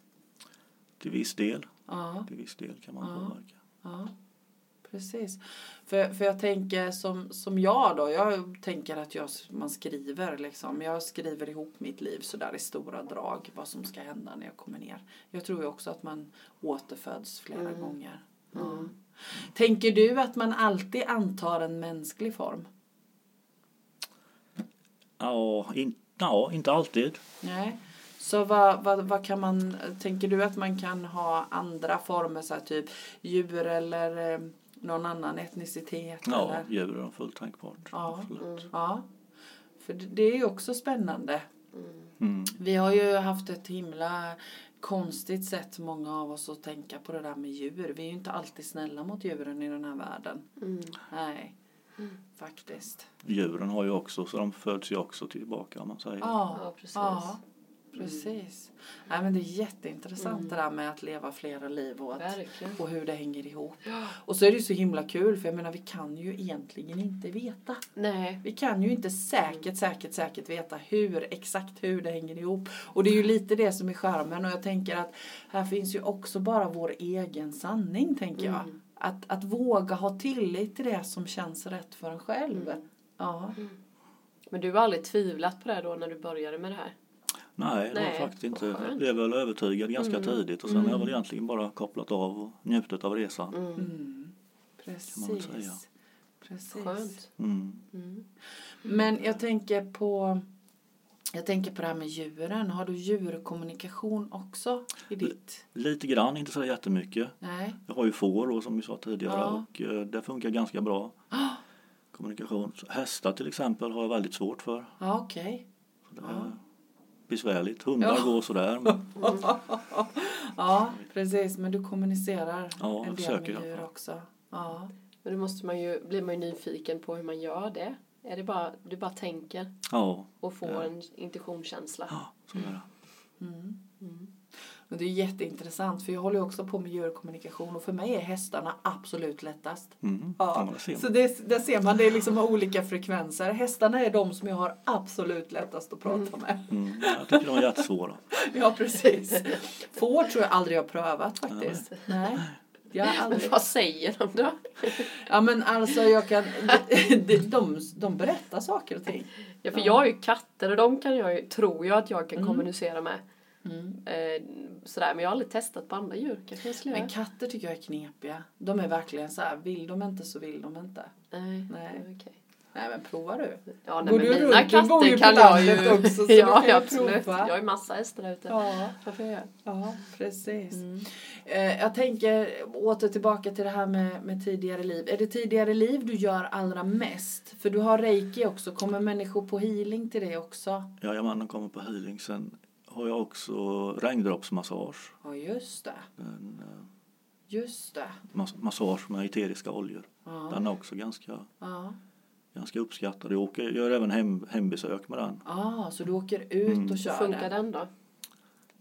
Speaker 3: Till, viss del,
Speaker 1: Ja.
Speaker 3: till viss del kan man
Speaker 1: Ja.
Speaker 3: påverka.
Speaker 1: Ja, precis. För, för jag tänker som, som jag då, jag tänker att jag, man skriver liksom. Jag skriver ihop mitt liv sådär i stora drag, vad som ska hända när jag kommer ner. Jag tror ju också att man återföds flera gånger. Ja. Tänker du att man alltid antar en mänsklig form?
Speaker 3: Ja, in, ja, inte alltid.
Speaker 1: Nej. Så vad, vad, vad kan man, tänker du att man kan ha andra former, så här, typ djur eller eh, någon annan etnicitet?
Speaker 3: Ja,
Speaker 1: eller?
Speaker 3: djur är fullt tänkbart.
Speaker 1: Ja. mm.
Speaker 3: Absolut.
Speaker 1: Ja, för det- det är ju också spännande.
Speaker 3: Mm.
Speaker 1: Vi har ju haft ett himla konstigt sätt, många av oss, att tänka på det där med djur. Vi är ju inte alltid snälla mot djuren i den här världen.
Speaker 2: Mm.
Speaker 1: Nej, faktiskt.
Speaker 3: Djuren har ju också, så de föds ju också tillbaka om man säger.
Speaker 1: Ja,
Speaker 2: Ja, precis. Mm.
Speaker 1: ja, precis. Nej, men det är jätteintressant det där med att leva flera liv och, att,
Speaker 2: Verkligen.
Speaker 1: och hur det hänger ihop. Och så är det ju så himla kul, för jag menar, vi kan ju egentligen inte veta.
Speaker 2: Nej.
Speaker 1: Vi kan ju inte säkert, säkert, säkert veta hur, exakt hur det hänger ihop. Och det är ju lite det som är charmen och jag tänker att här finns ju också bara vår egen sanning, tänker jag. Att, att våga ha tillit till det som känns rätt för en själv. Ja.
Speaker 2: Men du har aldrig tvivlat på det här då när du började med det här?
Speaker 3: Nej, det
Speaker 2: Nej,
Speaker 3: var faktiskt inte.
Speaker 2: vad
Speaker 3: Jag
Speaker 2: skönt.
Speaker 3: blev väl övertygad ganska
Speaker 1: Mm.
Speaker 3: tidigt och sen har jag väl egentligen bara kopplat av och njutit av resan.
Speaker 2: Mm.
Speaker 1: Mm.
Speaker 3: väl
Speaker 1: Precis.
Speaker 3: säga.
Speaker 1: Precis.
Speaker 2: Skönt.
Speaker 3: Mm.
Speaker 1: Men jag tänker på jag tänker på det här med djuren. Har du djurkommunikation också i ditt?
Speaker 3: Lite grann, inte så jättemycket.
Speaker 1: Nej.
Speaker 3: Jag har ju får då, som vi sa tidigare
Speaker 1: Ja.
Speaker 3: och eh, det funkar ganska bra.
Speaker 1: (gasps)
Speaker 3: Kommunikation. Så Hästar till exempel har jag väldigt svårt för.
Speaker 1: Ja, okej.
Speaker 3: Det är Besvärligt. Hundar går
Speaker 1: (laughs)
Speaker 3: sådär. Men,
Speaker 1: Ja, precis. Men du kommunicerar
Speaker 3: Ja,
Speaker 1: en del
Speaker 3: försöker
Speaker 1: med
Speaker 3: jag.
Speaker 1: djur också. Ja.
Speaker 2: Men då måste man ju, blir man ju nyfiken på hur man gör det. Är det bara, du bara tänker
Speaker 3: ja,
Speaker 2: och får
Speaker 3: Ja.
Speaker 2: en intuitionskänsla?
Speaker 3: ja, så är det.
Speaker 1: Men det är jätteintressant för jag håller ju också på med djurkommunikation och för mig är hästarna absolut lättast.
Speaker 3: Mm. Ja.
Speaker 1: Ja,
Speaker 3: men det ser man.
Speaker 1: så det, där ser man, det är liksom olika frekvenser. Hästarna är de som jag har absolut lättast att prata med. (laughs)
Speaker 3: Mm. Jag tycker de är jättesvåra.
Speaker 1: Ja, precis. Får tror jag aldrig jag har prövat faktiskt. Nej. Jag har
Speaker 2: Men
Speaker 1: aldrig.
Speaker 2: (laughs) vad säger de då?
Speaker 1: Ja, men alltså jag kan... De, de, de, de berättar saker och ting.
Speaker 2: Ja, för jag har ju katter och de kan jag ju, tror jag att jag
Speaker 1: Mm.
Speaker 2: kan kommunicera med. Eh, sådär, men jag har aldrig testat på andra djur. Kanske jag skulle
Speaker 1: Men
Speaker 2: göra.
Speaker 1: katter tycker jag är knepiga. De är verkligen så här, vill de inte så vill de inte.
Speaker 2: Nej,
Speaker 1: Nej.
Speaker 2: okej.
Speaker 1: Nej, men prova du.
Speaker 2: Ja, nej,
Speaker 1: Går
Speaker 2: men
Speaker 1: du
Speaker 2: mina
Speaker 1: runt? Du
Speaker 2: katter
Speaker 1: bor ju på
Speaker 2: kan jag ju.
Speaker 1: landet också, så du
Speaker 2: (laughs) ja,
Speaker 1: kan ju
Speaker 2: ja, absolut.
Speaker 1: prova.
Speaker 2: Jag har ju massa hästar där ute.
Speaker 1: Ja.
Speaker 2: Varför jag?
Speaker 1: Ja, precis. Eh, Jag tänker åter tillbaka till det här med, med tidigare liv. Är det tidigare liv du gör allra mest? För du har reiki också. Kommer människor på healing till dig också?
Speaker 3: Jajamän, de kommer på healing. Sen har jag också regndroppsmassage.
Speaker 1: Ja, just det.
Speaker 3: Den, eh,
Speaker 1: Just det.
Speaker 3: Mas- massage med eteriska oljor.
Speaker 1: Ja.
Speaker 3: Den är också ganska,
Speaker 1: Ja.
Speaker 3: ganska uppskattad. Jag åker, gör även hem, hembesök med den.
Speaker 1: Ah, så du åker ut
Speaker 3: Mm.
Speaker 1: och kör
Speaker 2: Funkar
Speaker 1: den?
Speaker 2: den då?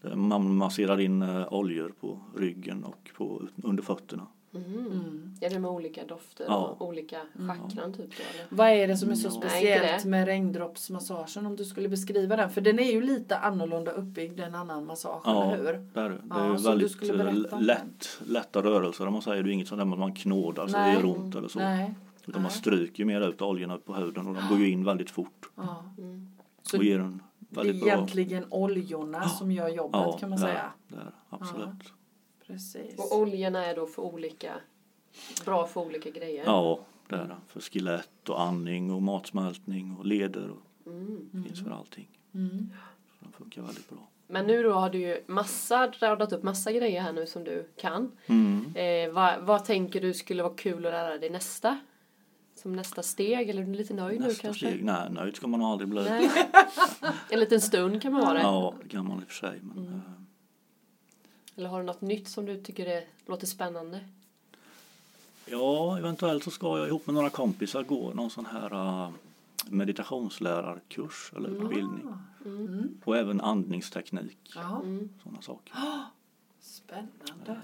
Speaker 3: Där Man masserar in eh, oljor på ryggen och på, under fötterna.
Speaker 2: Mhm.
Speaker 1: Mm.
Speaker 2: Är det med olika dofter
Speaker 3: Ja.
Speaker 2: och olika chakran typ då eller?
Speaker 1: Vad är det som är så
Speaker 3: Nej,
Speaker 2: Mm, inte
Speaker 1: speciellt
Speaker 2: det.
Speaker 1: med regndroppsmassagen om du skulle beskriva den? För den är ju lite annorlunda uppbyggd än annan massage,
Speaker 3: Ja,
Speaker 1: eller hur?
Speaker 3: där, det
Speaker 1: Ja,
Speaker 3: är
Speaker 1: som du
Speaker 3: väldigt
Speaker 1: skulle berätta
Speaker 3: eh,
Speaker 1: om
Speaker 3: lätt, lätta rörelser. Om man säger, det är inget sånt där med att man knådar så
Speaker 1: Nej.
Speaker 3: det gör ont eller så.
Speaker 1: Nej.
Speaker 3: Utan man
Speaker 1: Nej.
Speaker 3: stryker mer ut oljorna på huden och de går ju in väldigt fort
Speaker 1: Ja.
Speaker 2: Mm.
Speaker 1: Så
Speaker 3: och ger en
Speaker 1: det är
Speaker 3: väldigt bra...
Speaker 1: egentligen oljorna som gör jobbet kan man
Speaker 3: där,
Speaker 1: säga.
Speaker 3: Där, absolut.
Speaker 1: Precis.
Speaker 2: Och oljorna är då för olika, bra för olika grejer?
Speaker 3: Ja, det är det. För skelett och andning och matsmältning och leder och
Speaker 2: Mm.
Speaker 3: det finns för allting.
Speaker 1: Mm.
Speaker 3: Så den funkar väldigt bra.
Speaker 2: Men nu då har du ju massa, radat upp massa grejer här nu som du kan.
Speaker 3: Mm.
Speaker 2: Eh, vad, vad tänker du skulle vara kul att lära dig nästa? Som nästa steg? Eller är du lite nöjd nu
Speaker 3: Nästa
Speaker 2: kanske?
Speaker 3: steg, nej nöjd ska man nog aldrig bli.
Speaker 2: Nej. En liten stund kan man vara det.
Speaker 3: Ja, det kan man i och för sig. Men, eh,
Speaker 2: Eller har du något nytt som du tycker är, låter spännande?
Speaker 3: Ja, eventuellt så ska jag ihop med några kompisar gå någon sån här eh, meditationslärarkurs eller utbildning.
Speaker 1: Mm.
Speaker 3: Och även andningsteknik,
Speaker 1: Ja,
Speaker 2: Mm.
Speaker 3: sådana saker.
Speaker 1: spännande.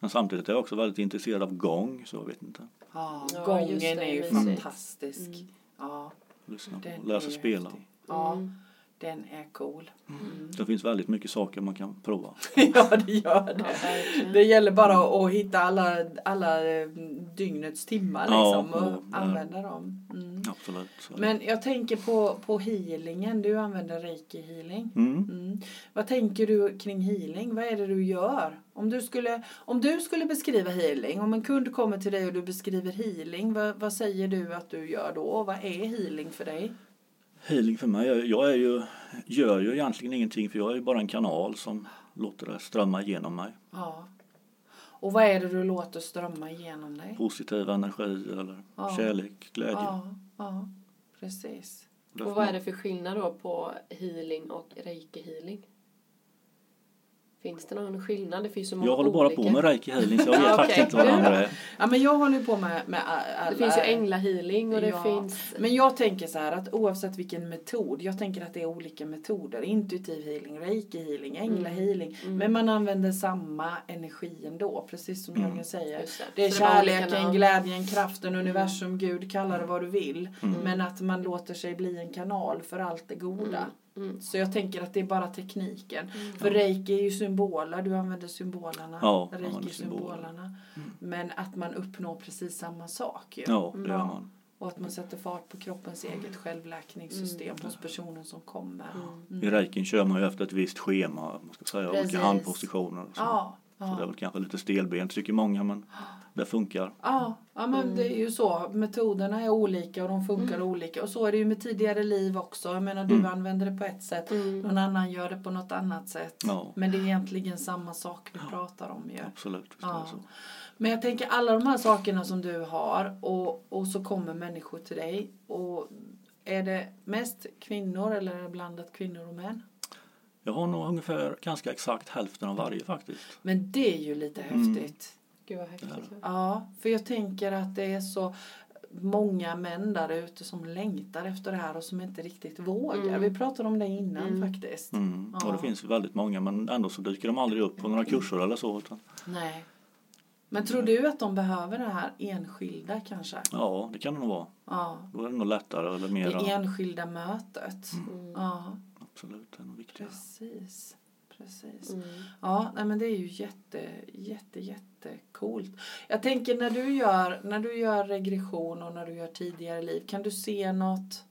Speaker 3: Men samtidigt är jag också väldigt intresserad av gång, så jag vet inte.
Speaker 1: Ja,
Speaker 2: Ja,
Speaker 1: gången
Speaker 2: just det,
Speaker 1: är ju
Speaker 2: mysigt.
Speaker 1: fantastisk. Ja,
Speaker 3: Lyssna på,
Speaker 1: den
Speaker 3: lära
Speaker 1: är
Speaker 3: sig
Speaker 1: ju
Speaker 3: spela.
Speaker 1: häftig. Ja,
Speaker 2: Mm.
Speaker 1: den är cool.
Speaker 3: Det finns väldigt mycket saker man kan prova.
Speaker 1: (laughs) ja, det gör
Speaker 2: Ja,
Speaker 1: det.
Speaker 2: verkligen.
Speaker 1: Det gäller bara att hitta alla, alla eh, dygnets timmar
Speaker 3: Ja,
Speaker 1: liksom, och
Speaker 3: ja.
Speaker 1: använda dem. Mm.
Speaker 3: Absolut. Så.
Speaker 1: Men jag tänker på, på healingen, du använder reiki healing.
Speaker 3: Mm.
Speaker 1: Mm. Vad tänker du kring healing? Vad är det du gör? Om du skulle, om du skulle beskriva healing, om en kund kommer till dig och du beskriver healing, vad, vad säger du att du gör då? Vad är healing för dig?
Speaker 3: Healing för mig, jag- jag är ju, gör ju egentligen ingenting för jag är ju bara en kanal som låter det strömma igenom mig.
Speaker 1: Ja. Och vad är det du låter strömma igenom dig?
Speaker 3: Positiv energi eller
Speaker 1: Ja.
Speaker 3: kärlek, glädje.
Speaker 1: Ja, ja, precis.
Speaker 3: Därför
Speaker 2: Och vad är
Speaker 3: man-
Speaker 2: det för skillnad då på healing och reiki-healing? Finns det någon skillnad? Det finns ju många
Speaker 3: Jag håller bara
Speaker 2: olika.
Speaker 3: på med reiki healing
Speaker 1: (laughs)
Speaker 3: så jag vet
Speaker 2: Ja,
Speaker 3: faktiskt
Speaker 2: okej.
Speaker 3: inte vad det andra är.
Speaker 1: Ja, men jag håller ju på med, med a- alla...
Speaker 2: Det finns ju änglahealing och det
Speaker 1: Ja.
Speaker 2: finns...
Speaker 1: Men jag tänker så här att oavsett vilken metod, jag tänker att det är olika metoder. Intuitiv healing, reiki healing,
Speaker 2: Mm.
Speaker 1: ängla healing. Men man använder samma energi ändå, precis som Jörgen säger.
Speaker 2: Mm. Just det.
Speaker 1: Det är
Speaker 2: Så det var olika
Speaker 1: kärleken,
Speaker 2: namn. Mm.
Speaker 1: glädjen, kraften, universum, Gud, kalla det vad du vill. Men att man låter sig bli en kanal för allt det goda.
Speaker 2: Mm.
Speaker 1: Så jag tänker att det är bara tekniken. För reiki är ju symboler, du använder symbolerna.
Speaker 3: Ja, jag använder
Speaker 1: Reiki-symbolerna.
Speaker 2: Mm.
Speaker 1: Men att man uppnår precis samma sak ju.
Speaker 3: Ja, det gör man.
Speaker 1: Och att man sätter fart på kroppens
Speaker 3: Mm.
Speaker 1: eget självläkningssystem hos personen som kommer. Mm.
Speaker 3: I reikin kör man ju efter ett visst schema, man ska säga,
Speaker 1: Precis.
Speaker 3: olika handpositioner. Och så.
Speaker 1: Ja,
Speaker 3: så det är
Speaker 1: ja.
Speaker 3: väl kanske lite stelbent tycker många men det funkar.
Speaker 1: Ja, ja, men det är ju så. Metoderna är olika och de funkar
Speaker 3: Mm.
Speaker 1: olika. Och så är det ju med tidigare liv också. Jag menar, du använder det på ett sätt.
Speaker 2: Mm.
Speaker 1: Någon annan gör det på något annat sätt.
Speaker 3: Mm. Ja.
Speaker 1: Men det är egentligen samma sak vi pratar om ju.
Speaker 3: Absolut, visst är
Speaker 1: Ja.
Speaker 3: det så.
Speaker 1: Men jag tänker alla de här sakerna som du har och, och så kommer människor till dig. Och är det mest kvinnor eller är det blandat kvinnor och män?
Speaker 3: Jag har nog ungefär ganska exakt hälften av varje faktiskt.
Speaker 1: Men det är ju lite
Speaker 3: Mm.
Speaker 1: häftigt.
Speaker 2: Gud vad häftigt. ja.
Speaker 1: Ja, för jag tänker att det är så många män där ute som längtar efter det här och som inte riktigt vågar. Vi pratade om det innan faktiskt.
Speaker 3: Mm.
Speaker 1: Ja.
Speaker 3: Och det finns väldigt många men ändå så dyker de aldrig upp på några kurser eller så. Utan,
Speaker 1: Nej. Men tror du att de behöver det här enskilda kanske?
Speaker 3: ja, det kan det nog vara.
Speaker 1: Ja.
Speaker 3: Då är det nog lättare eller
Speaker 1: Det
Speaker 3: mera.
Speaker 1: enskilda mötet.
Speaker 3: Mm.
Speaker 2: Mm.
Speaker 1: Ja,
Speaker 3: Absolut, det är nog viktigare.
Speaker 1: precis. Precis.
Speaker 2: Mm.
Speaker 1: Ja, nej men det är ju jätte, jätte, jätte coolt. Jag tänker när du, gör, när du gör regression och när du gör tidigare liv, kan du se något,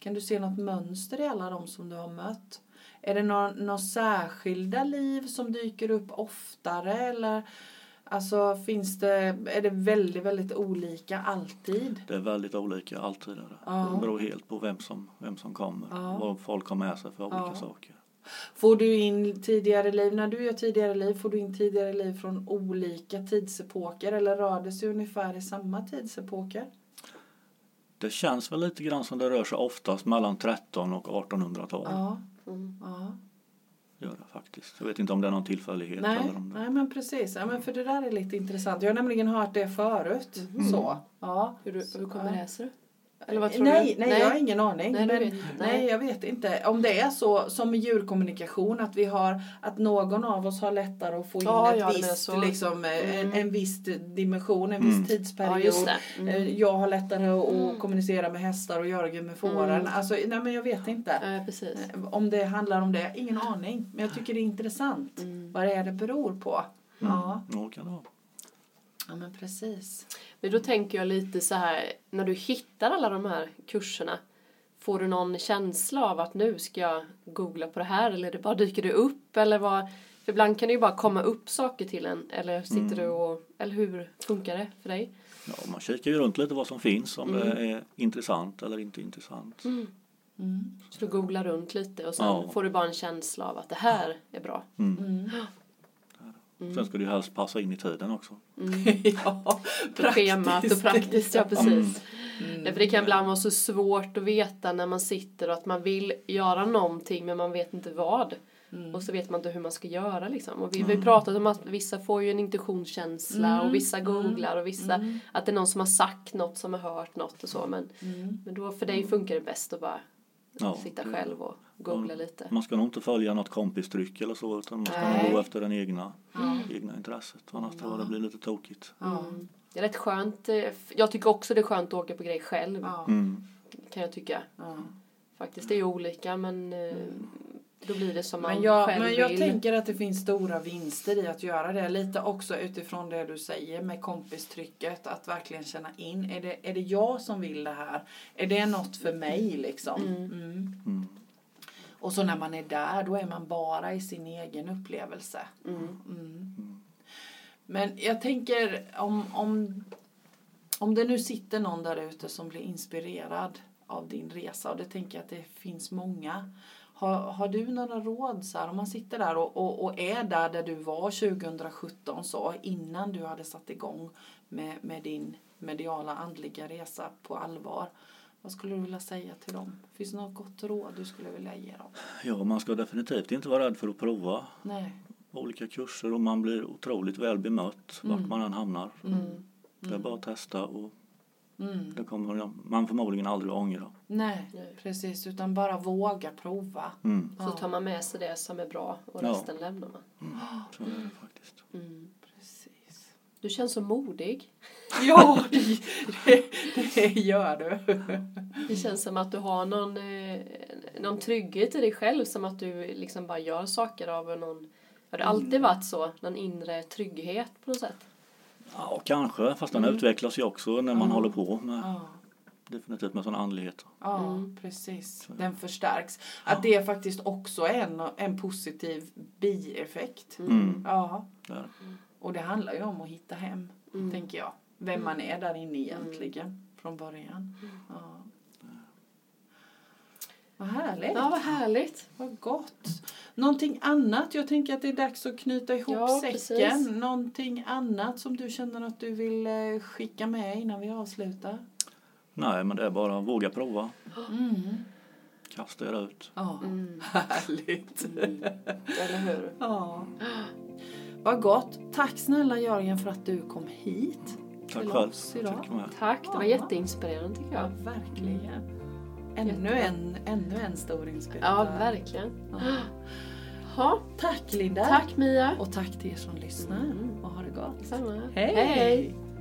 Speaker 1: kan du se något mönster i alla de som du har mött? Är det några några särskilda liv som dyker upp oftare eller alltså finns det, är det väldigt, väldigt olika alltid?
Speaker 3: Det är väldigt olika alltid. Där.
Speaker 1: Ja.
Speaker 3: Det beror helt på vem som, vem som kommer.
Speaker 1: Ja.
Speaker 3: Vad folk har med sig för olika
Speaker 1: Ja.
Speaker 3: saker.
Speaker 1: Får du in tidigare liv, när du gör tidigare liv, får du in tidigare liv från olika tidsepoker eller rör det sig ungefär i samma tidsepoker?
Speaker 3: Det känns väl lite grann som det rör sig oftast mellan 13 och 1800-tal.
Speaker 1: Ja.
Speaker 2: Mm.
Speaker 1: ja.
Speaker 3: göra faktiskt. Jag vet inte om det är någon tillfällighet
Speaker 1: Nej,
Speaker 3: eller om det...
Speaker 1: nej men precis. Ja, men för det där är lite intressant. Jag har nämligen hört det förut. Så. Ja.
Speaker 2: Hur, du- hur kommer
Speaker 1: Ja.
Speaker 2: det sig? Mhm. Mm. Eller vad tror
Speaker 1: nej,
Speaker 2: du?
Speaker 1: nej, jag har ingen aning.
Speaker 2: Nej,
Speaker 1: Nej,
Speaker 2: du
Speaker 1: men,
Speaker 2: vet- nej.
Speaker 1: nej, jag vet inte. Om det är så som med djurkommunikation att vi har att någon av oss har lättare att få in
Speaker 2: Ja,
Speaker 1: ett
Speaker 2: ja, det menar
Speaker 1: visst,
Speaker 2: så. Mm.
Speaker 1: liksom, eh, en, en viss dimension, en
Speaker 3: Mm.
Speaker 1: viss
Speaker 2: Ja,
Speaker 1: tidsperiod.
Speaker 2: just det. Mm.
Speaker 1: Eh, Jag har lättare att att kommunicera med hästar och Jörgen med fåren.
Speaker 2: Mm.
Speaker 1: Alltså, nej, men jag vet inte.
Speaker 2: Ja, precis.
Speaker 1: Eh, Om det handlar om det, ingen aning. Men jag tycker det är intressant
Speaker 2: Mm.
Speaker 1: vad det är det beror på. Ja.
Speaker 3: Ja, kan det vara.
Speaker 1: ja, men (laughs) precis.
Speaker 2: Men då tänker jag lite så här, när du hittar alla de här kurserna, får du någon känsla av att nu ska jag googla på det här eller det bara dyker det upp eller vad? För ibland kan det ju bara komma upp saker till en eller sitter du och, eller hur funkar det för dig?
Speaker 3: Ja, man kikar ju runt lite vad som finns, om det är intressant eller inte intressant.
Speaker 1: Mm.
Speaker 2: Så du googlar runt lite och sen
Speaker 3: Ja.
Speaker 2: får du bara en känsla av att det här är bra.
Speaker 1: Mm.
Speaker 3: Sen ska det ju helst passa in i tiden också.
Speaker 1: ja,
Speaker 2: Mm. På schemat och praktiskt, ja precis.
Speaker 1: Mm.
Speaker 2: Ja, för det kan ibland vara så svårt att veta när man sitter och att man vill göra någonting men man vet inte vad.
Speaker 1: Mm.
Speaker 2: Och så vet man inte hur man ska göra liksom. Och vi har ju pratat om att vissa får ju en intuitionskänsla
Speaker 1: Mm.
Speaker 2: och vissa googlar och vissa att det är någon som har sagt något som har hört något och
Speaker 1: Mm.
Speaker 2: så. Men, men då för dig funkar det bäst att bara
Speaker 3: Ja, Mm.
Speaker 2: sitta
Speaker 3: det-
Speaker 2: själv och googla lite.
Speaker 3: Man ska nog inte följa något kompistryck eller så utan man ska
Speaker 1: Nej.
Speaker 3: nog gå efter den egna, egna intresset. Annars tror jag det blir lite tokigt.
Speaker 1: Ja.
Speaker 2: Det är rätt skönt. eh, f- Jag tycker också det är skönt att åka på grejer själv
Speaker 1: Ja.
Speaker 3: Mm.
Speaker 2: kan jag tycka.
Speaker 1: Ja.
Speaker 2: Faktiskt, det är ju olika men eh, då blir det som man
Speaker 1: Mm. Men jag,
Speaker 2: själv
Speaker 1: men jag
Speaker 2: vill.
Speaker 1: tänker att det finns stora vinster i att göra det. Lite också utifrån det du säger med kompistrycket. Att verkligen känna in. Är det, är det jag som vill det här? Är det något för mig liksom? Mm.
Speaker 3: Mm.
Speaker 1: Och så när man är där, då är man bara i sin egen upplevelse. Mm. Men jag tänker om, om, om det nu sitter någon där ute som blir inspirerad av din resa och det tänker jag att det finns många. Har, har du några råd så här, om man sitter där och, och, och är där där du var 2017 så innan du hade satt igång med, med din mediala andliga resa på allvar. Vad skulle du vilja säga till dem? Finns det något gott råd du skulle vilja ge dem?
Speaker 3: Ja, man ska definitivt inte vara rädd för att prova
Speaker 1: Nej.
Speaker 3: olika kurser och man blir otroligt väl bemött vart man än hamnar. Det är bara att testa och
Speaker 1: Mm.
Speaker 3: det kommer man förmodligen aldrig att ångra.
Speaker 1: Nej,
Speaker 2: Nej.
Speaker 1: precis. Utan bara våga prova.
Speaker 3: Mm.
Speaker 2: Så tar man med sig det som är bra och
Speaker 3: Ja.
Speaker 2: resten lämnar man. Mm.
Speaker 3: Så är det faktiskt.
Speaker 1: Precis.
Speaker 2: Du känns så modig.
Speaker 1: Ja, det, det, det gör du.
Speaker 2: Det känns som att du har någon, eh, någon trygghet i dig själv. Som att du liksom bara gör saker av någon. Har det
Speaker 1: Mm.
Speaker 2: alltid varit så? Någon inre trygghet på något sätt?
Speaker 3: Ja, kanske. Fast den utvecklas ju också när man håller på med,
Speaker 1: Mm. Ja,
Speaker 3: definitivt med sån andlighet.
Speaker 1: ja precis. Den förstärks. Att det faktiskt också är en, en positiv bieffekt.
Speaker 2: Mm.
Speaker 1: Ja,
Speaker 3: Där.
Speaker 1: och det handlar ju om att hitta hem, tänker jag. Vem man är där inne egentligen från början. Ja. Vad härligt.
Speaker 2: Ja, vad härligt.
Speaker 1: Vad gott. Någonting annat? Jag tänker att det är dags att knyta ihop
Speaker 2: Ja,
Speaker 1: säcken.
Speaker 2: precis.
Speaker 1: Någonting annat som du känner att du vill eh, skicka med innan vi avslutar?
Speaker 3: Nej, men det är bara att våga prova.
Speaker 2: Ah.
Speaker 1: Mm.
Speaker 3: Kasta er ut.
Speaker 1: Ja, härligt.
Speaker 2: Eller hur?
Speaker 1: Ja. Vad gott. Tack snälla Jörgen för att du kom hit.
Speaker 3: Tack
Speaker 1: Till
Speaker 3: själv.
Speaker 1: oss
Speaker 3: för att
Speaker 1: idag.
Speaker 3: jag fick vara med.
Speaker 2: Tack, det var
Speaker 1: Ja.
Speaker 2: jätteinspirerande tycker
Speaker 1: Ja,
Speaker 2: jag.
Speaker 1: verkligen. Ännu en, ännu en stor
Speaker 2: Ja,
Speaker 1: inspiration.
Speaker 2: verkligen. Ha,
Speaker 1: Tack Linda.
Speaker 2: tack Mia.
Speaker 1: Och tack till er som lyssnar. Och ha det gott.
Speaker 2: Detsamma.
Speaker 1: Hej.
Speaker 2: Hej.